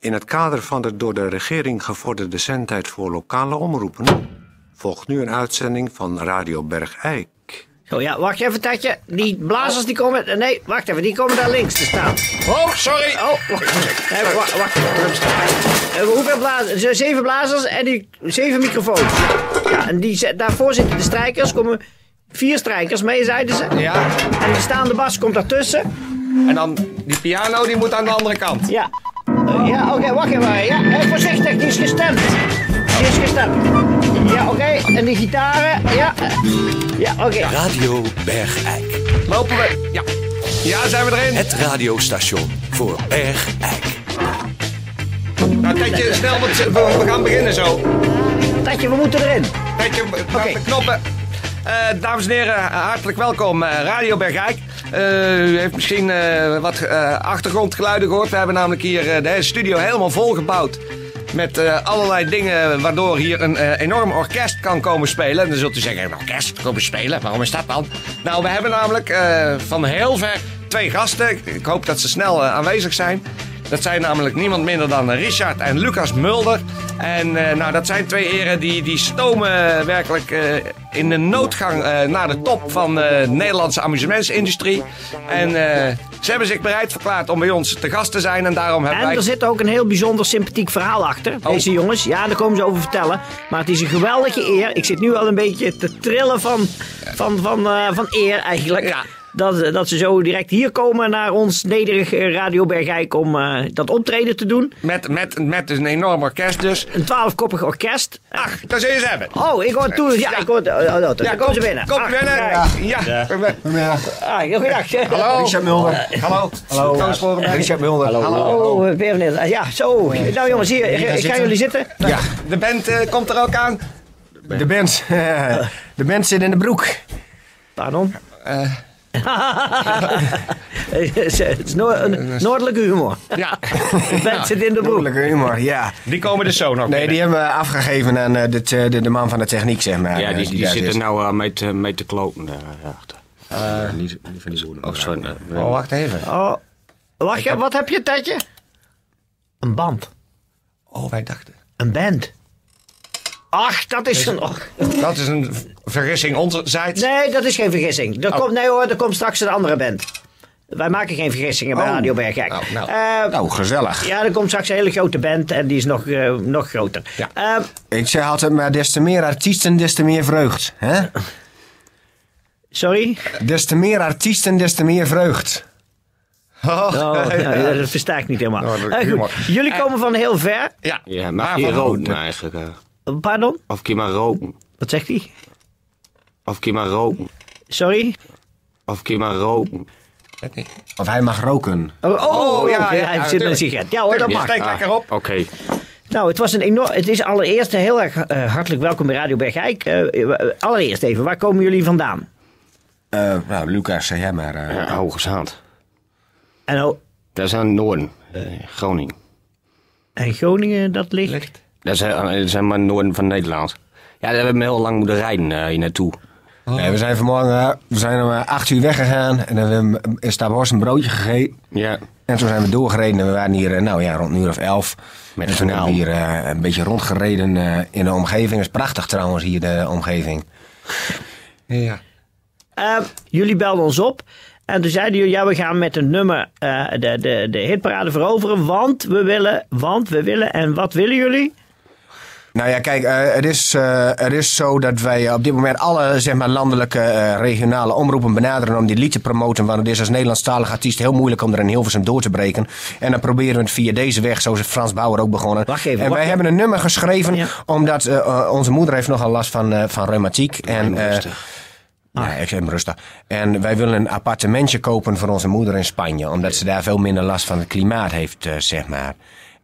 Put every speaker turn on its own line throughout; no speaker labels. In het kader van de door de regering gevorderde zendtijd voor lokale omroepen volgt nu een uitzending van Radio Bergijk.
Zo ja, wacht even, Tatje. Die blazers die komen. Nee, wacht even, die komen daar links te staan.
Oh, sorry.
Oh, wacht. Nee, wacht, wacht. Eh, Hoeveel blazers? Ze- Zeven blazers en die zeven microfoons. Ja, en die, zet- daarvoor zitten de strijkers. Komen vier strijkers mee, zeiden ze.
Ja,
En de staande bas komt daartussen.
en dan die piano die moet aan de andere kant.
Ja. Eh, ja, oké, wacht even. Ja, eh, voorzichtig, die is gestemd. Die is gestemd. Ja, oké. En die gitaren, ja. eh, Ja, oké.
Radio Bergijk.
Lopen we. Ja, ja zijn we erin.
Het radiostation voor Bergijk.
Nou, Tetje, snel, want ze- we, we gaan beginnen zo.
Tatje, we moeten erin.
Tetje, pak de knoppen. Eh, dames en heren, hartelijk welkom. eh, Radio Bergijk. Eh, u heeft misschien eh, wat eh, achtergrondgeluiden gehoord. We hebben namelijk hier eh, de hele studio helemaal volgebouwd. Met eh, allerlei dingen waardoor hier een eh, enorm orkest kan komen spelen. En dan zult u zeggen, een orkest komen spelen? Waarom is dat dan? Nou, we hebben namelijk eh, van heel ver twee gasten. Ik- Ik hoop dat ze snel eh, aanwezig zijn. Dat zijn namelijk niemand minder dan Richard en Lucas Mulder. En eh, nou, dat zijn twee heren die, die stomen eh, werkelijk eh, in de noodgang eh, naar de top van eh, de Nederlandse amusementsindustrie. En eh, ze hebben zich bereid verklaard om bij ons te gast te zijn. En daarom hebben
En
wij... Oh.
er zit ook een heel bijzonder sympathiek verhaal achter. Deze jongens, ja, daar komen ze over vertellen. Maar het is een geweldige eer. Ik zit nu al een beetje te trillen van, van, van, eh, van eer eigenlijk.
Ja.
Dat, dat ze zo direct hier komen naar ons nederig eh, Radio Bergijk om eh, dat optreden te doen.
Met, met, met een enorm orkest dus.
Een twaalfkoppig orkest.
Ach, daar zul je ze hebben.
Oh, ik hoor toe. Ja,
Ja.
ik hoor. Oh, oh, oh, daar komen ze binnen.
Kom
Ah,
binnen.
kijk.
Ja. Ja.
Ah, goeiedag.
Hallo.
Mulder.
Hallo. Koos Volgenberg.
Richard Mulder.
Oh, eh, ben benieuwd. Ah, Ja, zo. Nou jongens, hier. Ik, ik ga
zitten.
jullie zitten.
Ja. De band eh, komt er ook aan. eh,
De band. De band zit in de broek.
Pardon?
eh,
het is
Eh,
noor- een noordelijke humor.
Ja.
De band zit in de broek.
Broerlijke humor, ja.
Die komen dus zo nog
Nee,
binnen.
die hebben we afgegeven aan eh, de, te- de, de man van de techniek, zeg maar.
Ja,
eh,
die, die,
daar
zitten
zit.
nou eh, mee, te, mee te kloten daarachter. niet, niet van die boeren. Of zo. nee.
Oh, wacht even.
Oh, wacht, wat heb je, Tetje? Een band.
Oh, wij dachten.
Een band. Ach, dat is een... oh. och.
Dat is een v- vergissing onderzijds.
Nee, dat is geen vergissing.
Oh.
Er komt, nee hoor, er komt straks een andere band. Wij maken geen vergissingen bij
Oh.
Radio Bergijk.
Nou, nou.
Eh,
Nou, gezellig.
ja, er komt straks een hele grote band en die is nog, eh, nog groter.
Ja.
Eh,
Ik zeg altijd maar, des te meer artiesten, des te meer vreugd. Hè?
sorry?
Des te meer artiesten, des te meer vreugd.
Oh,
Oh,
ja.
ja, dat versta ik niet helemaal.
Nou,
Noordelijke
Eh,
humor.
goed. Jullie komen van heel ver.
Ja,
Ja,
maar
mag je
van
roken
roken.
eigenlijk. eh.
Pardon?
Of kun je maar roken.
Wat zegt hij?
Of kun je maar roken.
Sorry?
Of kun je maar roken.
Of hij mag roken.
Oh, oh,
Oh, ja,
oké,
ja,
hij
ja,
zit met een
tuurlijk.
sigaret. Ja hoor, dat
Ja.
mag. Ah.
Steek lekker op.
Oké.
Nou, het was een enorm... Het is allereerst heel erg eh, hartelijk welkom bij Radio Bergijk. Eh, eh, allereerst even, waar komen jullie vandaan?
Eh, nou, Lucas, zeg jij maar. eh.
Ja, Hoge Zand.
En, oh,
Dat is aan het noorden. eh, Groningen.
en Groningen, dat ligt...
Dat is, eh, dat is helemaal het noorden van Nederland. Ja, daar hebben we heel lang moeten rijden eh, hier naartoe.
Nee, we zijn vanmorgen eh, we zijn om eh, acht uur weggegaan. En dan hebben we in Staphorst een broodje gegeten.
Ja.
En toen zijn we doorgereden en we waren hier, eh, nou ja, rond een uur of elf.
Met
en toen
kanaal.
hebben we hier eh, een beetje rondgereden eh, in de omgeving. Het is prachtig trouwens hier, de omgeving.
Ja.
Eh, jullie belden ons op. En toen zeiden jullie, ja, we gaan met een nummer eh, de, de, de hitparade veroveren. Want we willen, want we willen. En wat willen jullie?
Nou ja, kijk, eh, het, is, eh, het is zo dat wij eh, op dit moment alle zeg maar, landelijke eh, regionale omroepen benaderen om dit lied te promoten. Want het is als Nederlandstalig artiest heel moeilijk om er in Hilversum door te breken. En dan proberen we het via deze weg, zo is Frans Bauer ook begonnen.
Wacht even,
en
wacht
wij
even.
hebben een nummer geschreven
Ja.
omdat eh, eh, onze moeder heeft nogal last van, eh, van reumatiek. En, eh, ja, ik zeg hem rustig. En wij willen een appartementje kopen voor onze moeder in Spanje. Omdat ze daar veel minder last van het klimaat heeft, eh, zeg maar.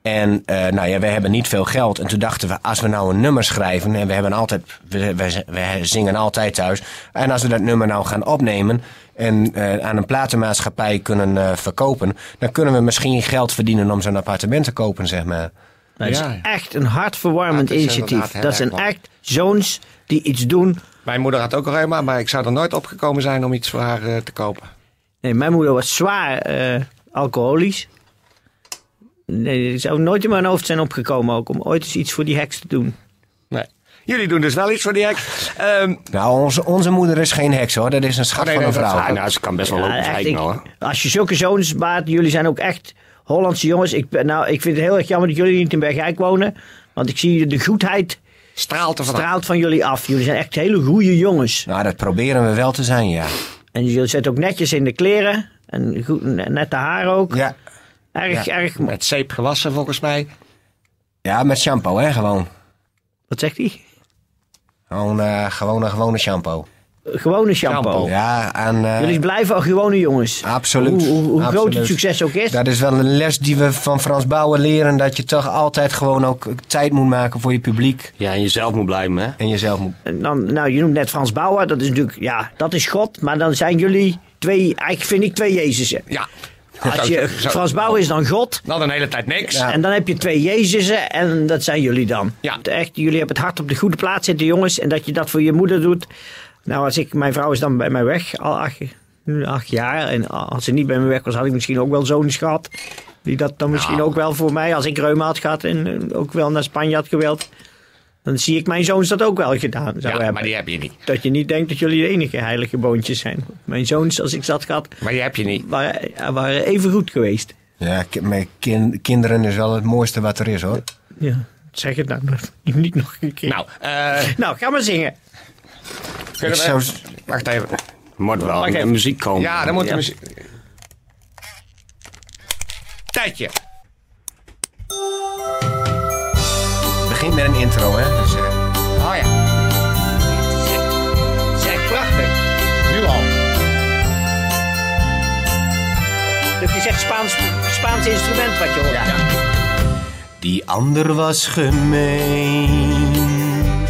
En eh, nou ja, wij hebben niet veel geld. En toen dachten we, als we nou een nummer schrijven. En we hebben altijd, we, we, we zingen altijd thuis. En als we dat nummer nou gaan opnemen. En eh, aan een platenmaatschappij kunnen eh, verkopen. Dan kunnen we misschien geld verdienen om zo'n appartement te kopen, zeg maar.
Dat is
Ja.
echt een hartverwarmend
Ja, dat is
initiatief.
inderdaad heel
Dat zijn
erg
echt zoons die iets doen.
Mijn moeder had ook reuma, maar ik zou er nooit opgekomen zijn om iets voor haar eh, te kopen.
Nee, mijn moeder was zwaar eh, alcoholisch. Nee, het zou nooit in mijn hoofd zijn opgekomen ook om ooit eens iets voor die heks te doen.
Nee. Jullie doen dus wel iets voor die heks. Ehm,
Nou, onze, onze moeder is geen heks hoor. Dat is een schat
Nee,
van
nee,
een
dat-
vrouw.
ah, nou, ze kan best wel
Ja,
lopen
echt,
zeiken
ik-
hoor.
als je zulke zoons baat, jullie zijn ook echt Hollandse jongens. Ik, ben, nou, ik vind het heel erg jammer dat jullie niet in Bergijk wonen. Want ik zie de goedheid
straalt er vanaf.
straalt van jullie af. Jullie zijn echt hele goede jongens.
Nou, dat proberen we wel te zijn, ja.
En jullie zitten ook netjes in de kleren. En goed, nette haar ook.
Ja,
Erg,
ja.
erg.
Met zeep gewassen volgens mij.
ja met shampoo, hè, gewoon.
Wat zegt hij?
Gewoon, eh, gewoon een gewone shampoo.
Gewone shampoo.
Ja, en... eh,
Oh. Jullie blijven al gewone jongens.
Absoluut.
Hoe, hoe, hoe groot het
absoluut.
succes ook is.
Dat is wel een les die we van Frans Bauer leren. Dat je toch altijd gewoon ook tijd moet maken voor je publiek.
Ja, en jezelf moet blijven, hè?
En jezelf moet...
En Dan, nou, je noemt net Frans Bauer. Dat is natuurlijk, ja, dat is God. Maar dan zijn jullie twee, eigenlijk vind ik twee Jezusen.
Ja.
Als
Zo-
je,
zo-
Frans Bauer is dan God.
Dan een hele tijd niks.
Ja.
En dan heb je twee Jezusen en dat zijn jullie dan.
Ja.
Echt, jullie hebben het hart op de goede plaats zitten, jongens. En dat je dat voor je moeder doet. Nou, als ik, mijn vrouw is dan bij mij weg, al acht, nu acht jaar. En als ze niet bij me weg was, had ik misschien ook wel zoons gehad. Die dat dan misschien ook wel voor mij, als ik reuma had gehad en eh, ook wel naar Spanje had gewild. Dan zie ik mijn zoons dat ook wel gedaan zou
Ja,
hebben.
maar die heb je niet.
Dat je niet denkt dat jullie de enige heilige boontjes zijn. Mijn zoons, als ik dat had,
Maar die heb je niet.
waren, waren even goed geweest.
Ja, ki- met kin- kinderen is wel het mooiste wat er is, hoor.
Ja, zeg het nou niet nog een keer.
Nou, eh
Nou, ga maar zingen.
kunnen
Ik zou-
we... Wacht even.
Moet wel
Wacht
de
even.
muziek komen.
Ja, dan moet de
Ja.
muziek... Tijdje.
Het begint met een intro, hè. Dus, eh,
Oh ja. Zeg, prachtig. Nu al.
Dat is echt Spaans, Spaans instrument wat je hoort.
Ja.
Die ander was gemeen,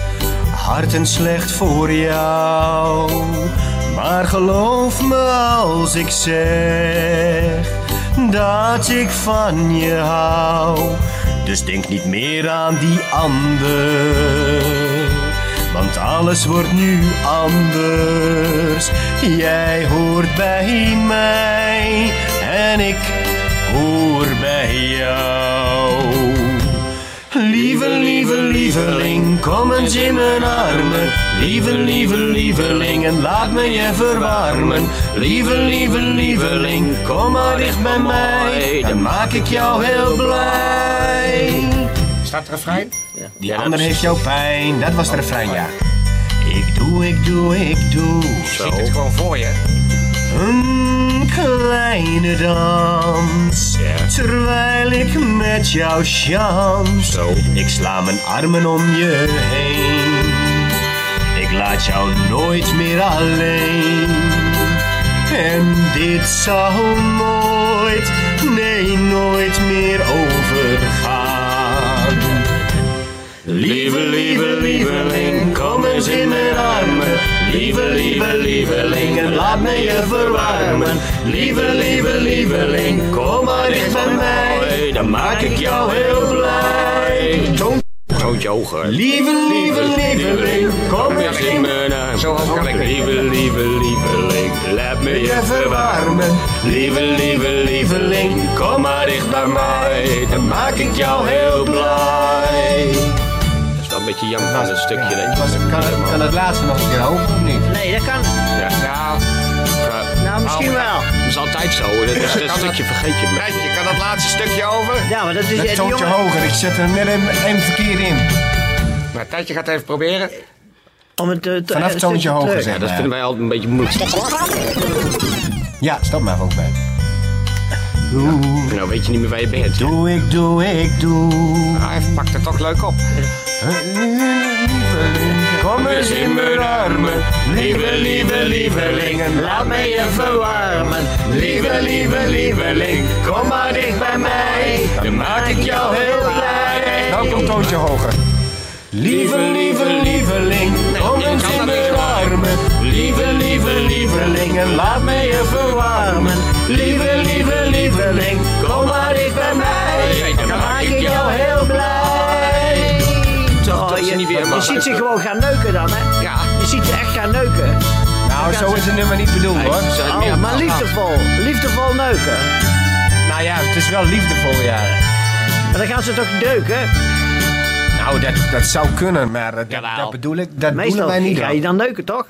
hard en slecht voor jou. Maar geloof me als ik zeg dat ik van je hou. Dus denk niet meer aan die ander, want alles wordt nu anders. Jij hoort bij mij en ik hoor bij jou. Lieve, lieve, lieveling, kom eens in mijn armen. Lieve, lieve, lieveling, en laat me je verwarmen. Lieve, lieve, lieveling, kom maar dicht bij mij. Dan maak ik jou heel blij.
Staat er een vrij?
Die ander heeft jouw pijn, dat was de refrein, ja. Ik doe, ik doe, ik doe.
Je ziet het gewoon voor je.
Een kleine dans, terwijl ik met jou chans. Ik sla mijn armen om je heen. Ik laat jou nooit meer alleen. En dit zal nooit, nee, nooit meer overgaan. Lieve, lieve, lieveling, kom eens in mijn armen. Lieve, lieve, lieveling, en laat me je verwarmen. Lieve, lieve, lieveling, kom maar dicht bij mij. Dan maak ik jou heel blij.
Groot joger.
Lieve, lieve, lieveling, kom eens in mijn
Zo hoog kan ik niet.
Lieve, lieve, lieveling, laat me je verwarmen. Lieve, lieve, lieveling, kom maar dicht bij mij. Dan maak ik jou heel blij. Dat is wel een beetje jammer van dat stukje. dat je-
het laatste nog een keer hopen of niet?
Nee, dat kan.
Ja,
Ja,
ja,
Nou, misschien wel.
dat is altijd zo. hoor. Dat is dat stukje vergeet je maar.
Tijdje, kan dat laatste stukje over?
Ja, maar dat is... die
Het toontje
jongen-
hoger, ik zet er net een, een verkeer in.
Nou, Tijdje gaat even proberen.
om het, eh, te-
Vanaf
eh,
toontje
te-
hoger
te-
zeg
Dat
maar.
vinden wij altijd een beetje moeilijk.
Ja, stop maar ook bij.
Nou weet je niet meer waar je bent.
Doe ik, doe ik, doe.
Nou, hij pakt het toch leuk op.
Kom eens in mijn armen, lieve, lieve, lievelingen. Laat me je verwarmen, lieve, lieve, lieveling. Kom maar dicht bij mij, dan maak ik jou heel blij. Nou komt toontje hoger. Lieve, lieve, lieveling, kom eens in mijn armen. Lieve, lieve, lievelingen, laat me je verwarmen. Lieve, lieve, lieveling, kom maar dicht bij mij. Dan maak ik jou heel blij.
Oh,
Dat is
je,
niet weer
je
helemaal
ziet ze
leuk.
gewoon gaan neuken dan, hè?
Ja.
Je ziet ze echt gaan neuken.
Nou, zo is het nummer niet bedoeld hoor.
eh,
Oh,
Oh, maar liefdevol. Liefdevol neuken.
Nou ja, het is wel liefdevol, ja.
Maar dan gaan ze toch deuken?
Nou, dat, dat zou kunnen, maar eh, dat, dat bedoel ik, dat
Meestal
bedoelen wij niet.
ga je dan neuken, toch?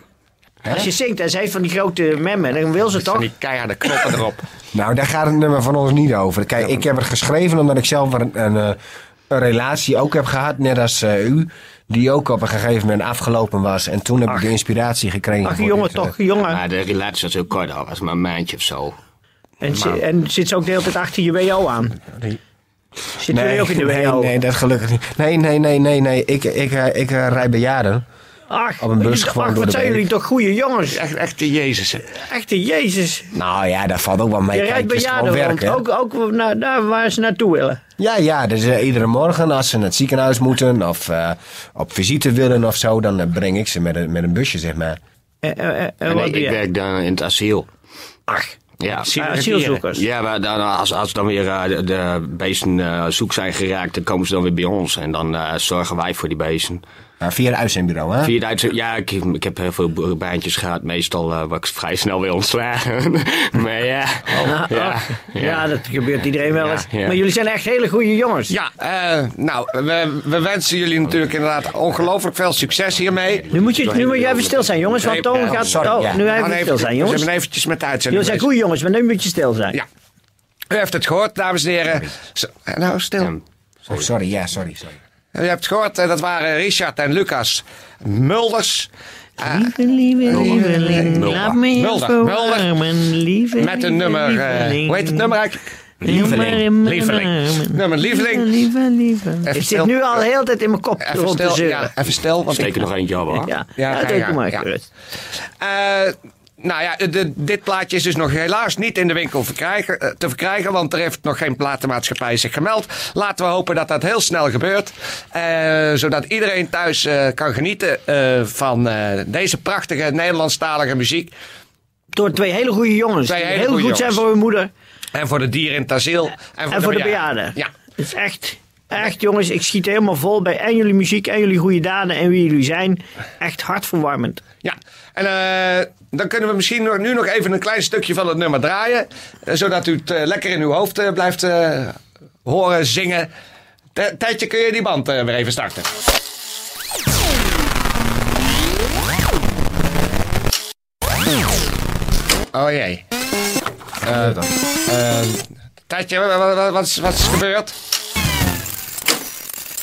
Als je zingt en ze heeft van die grote memmen, dan wil ze toch?
Die keiharde knoppen erop.
Nou, daar gaat het nummer van ons niet over. Kijk, ik heb het geschreven omdat ik zelf een, een, eh, een relatie ook heb gehad, net als eh, u. Die ook op een gegeven moment afgelopen was. En toen heb ik de inspiratie gekregen.
Ach
voor
jongen,
dit, eh,
toch, jongen.
Maar de relatie was heel kort al, was maar een maandje of zo.
En, zi- en zit ze ook de hele tijd achter je WO aan? Zit
Nee,
jij ook in de
nee,
WO?
nee, dat gelukkig niet. Nee, nee, nee, nee, nee. Ik, ik, eh, ik eh, rij bejaarden.
Ach,
Op een bus
ach,
gewoon door
wat
de
zijn
berg.
jullie toch goede jongens.
Echt, echt de Jezus. hè.
Echte Jezus.
Nou ja, daar valt ook wel mee.
Je
Kijk,
rijdt
het is gewoon
bejaarden rond.
werken.
Ook, ook naar, daar waar ze naartoe willen.
Ja, ja, dus eh, iedere morgen als ze naar het ziekenhuis moeten of eh, op visite willen of zo, dan eh, breng ik ze met een, met een busje, zeg maar.
En, en, en, en
En
Eh, wat
ik,
doe
ik
jij?
werk dan in het asiel.
Ach,
Ja.
eh, asielzoekers.
Ja, maar dan, als, als dan weer eh, de- de beesten eh, zoek zijn geraakt, dan komen ze dan weer bij ons. En dan eh, zorgen wij voor die beesten.
Maar via het uitzendbureau, hè?
Via het uitzend- ja, ik, ik heb heel veel b- baantjes gehad. Meestal eh word ik vrij snel weer ontslagen. maar ja. ja,
Oh. ja. dat gebeurt iedereen wel
Ja,
eens.
ja.
Maar jullie zijn echt hele goede jongens.
Ja, eh, nou, we, we wensen jullie natuurlijk inderdaad ongelooflijk veel succes hiermee.
Nu moet, je, nu moet je even stil zijn, jongens. Want Toon gaat...
sorry,
Toon,
ja. Oh,
nu
Maar
even stil zijn,
We
jongens.
zijn eventjes met de uitzending
Jullie zijn
bezig.
goede jongens, maar nu moet je stil zijn.
Ja. U heeft het gehoord, dames en heren. Zo- eh, Nou, stil.
Oh, sorry, ja, sorry. sorry.
U hebt het gehoord, eh, dat waren Richard en Lucas Mulders. eh,
Lieve lieveling, laat me je
Mulder,
verwarmen. Lieve
met een nummer, eh, hoe heet het nummer eigenlijk?
Lieveling.
Lieveling. Nummer Lieveling.
Lieve, lieve. Ik zit
stil.
nu al heel de tijd in mijn kop
Even
rond te
stil,
zeuren.
ja, eh, even stil. Want
Steek
ik,
er nog eentje op, hoor.
Ja,
Ja,
ja,
ja,
doe
ja,
maar
ja.
gerust.
Eh, nou ja, de- dit plaatje is dus nog helaas niet in de winkel verkrijgen, eh, te verkrijgen, want er heeft nog geen platenmaatschappij zich gemeld. Laten we hopen dat dat heel snel gebeurt, eh, zodat iedereen thuis eh, kan genieten eh, van eh, deze prachtige Nederlandstalige muziek.
Door twee hele goede jongens.
Twee
die
hele
heel goed
goede
zijn
jongens.
voor hun moeder
En voor de dieren in het asiel.
en voor de bejaarden.
Ja.
Het is echt, echt jongens, ik schiet helemaal vol bij en jullie muziek en jullie goede daden en wie jullie zijn. Echt hartverwarmend.
Ja, en eh, dan kunnen we misschien nog- nu nog even een klein stukje van het nummer draaien. eh, zodat u het eh, lekker in uw hoofd eh, blijft eh, horen zingen. T- Tijdje, kun je die band eh, weer even starten? Oh jee. Eh, eh, Tijdje, wa- wa- wa- wat, is- wat is gebeurd?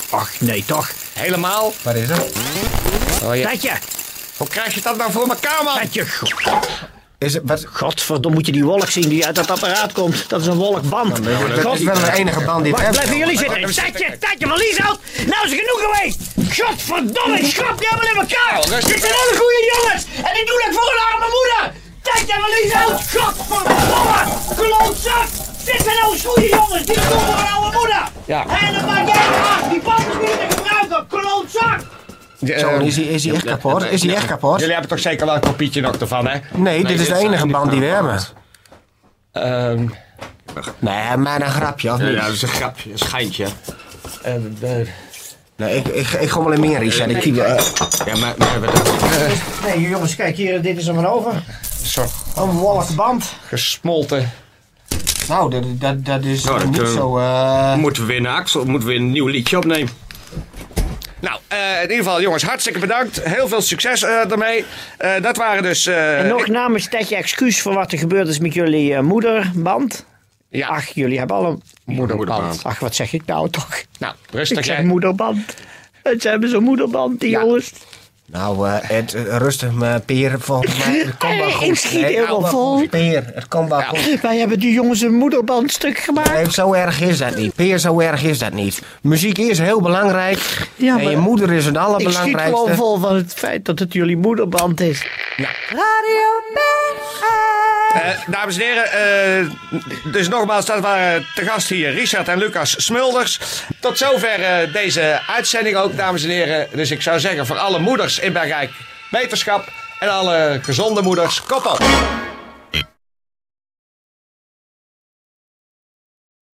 Ach, nee toch.
Helemaal?
Wat is het?
Oh, jee.
Tijdje,
Hoe krijg je dat nou voor elkaar, man?
tijdje.
Is het wat?
Godverdomme, moet je die wolk zien die uit dat apparaat komt. Dat is een wolkband.
Dat is
God,
wel de enige band die het
Wacht,
heeft.
blijven jullie zitten. Tijdje, tijdje, maar Lieshout. Nou is het genoeg geweest. Godverdomme, ik schrap je helemaal in elkaar.
Oh, rustig.
Dit zijn hele goede jongens. En ik doe dat voor een arme moeder. Tijdje, maar Lieshout. nou? Godverdomme, klootzak. Dit zijn onze goede jongens. Die doen voor een oude moeder.
Ja.
En dan maak jij af. Die band is niet meer te gebruiken. Klootzak.
Zo,
Eh,
Is hij is hij echt kapot? Is hij echt kapot?
Jullie hebben toch zeker wel een kopietje nog ervan, hè?
Nee, dit is de enige band die we hebben.
Ehm,
Nee, maar een grapje, of
Ja,
niet?
dat is een grapje, een schijntje.
Nee, ik, ik, ik gommel hem in, Richard. Ik, eh,
Ja, maar, maar wat-
Nee, jongens, kijk hier. Dit is hem over.
soort
Een wolkband.
gesmolten.
nou, dat, dat, dat is
Nou, dat
niet
kunnen we-
zo... eh,
moeten we weer naar Axel? Moeten we weer een nieuw liedje opnemen?
Nou, eh, in ieder geval, jongens, hartstikke bedankt. Heel veel succes eh ermee. Eh, dat waren dus. eh,
En nog namens Tetje excuus voor wat er gebeurd is met jullie eh, moederband.
Ja.
Ach, jullie hebben al een
moederband.
Ach, wat zeg ik nou toch?
Nou,
Ik
rustig
zeg
hè.
moederband. En ze hebben zo'n moederband, die
Ja.
jongens.
Nou, eh, Ed, eh, rustig maar, Peer. Volgens mij, het komt wel
Ik
goed.
schiet
Nee,
helemaal
nou,
vol.
Peer, het komt wel goed.
Wij hebben die jongens een moederband stuk gemaakt.
Nee, zo erg is dat niet. Peer, zo erg is dat niet. Muziek is heel belangrijk.
Ja,
en je
maar-
moeder is het
ik schiet
allerbelangrijkste.
gewoon vol van het feit dat het jullie moederband is.
Eh, dames en heren, eh, dus nogmaals, dat waren te gast hier Richard en Lucas Smulders. Tot zover eh, deze uitzending ook, dames en heren. Dus ik zou zeggen, voor alle moeders in Bergrijk, wetenschap. En alle gezonde moeders, kop op.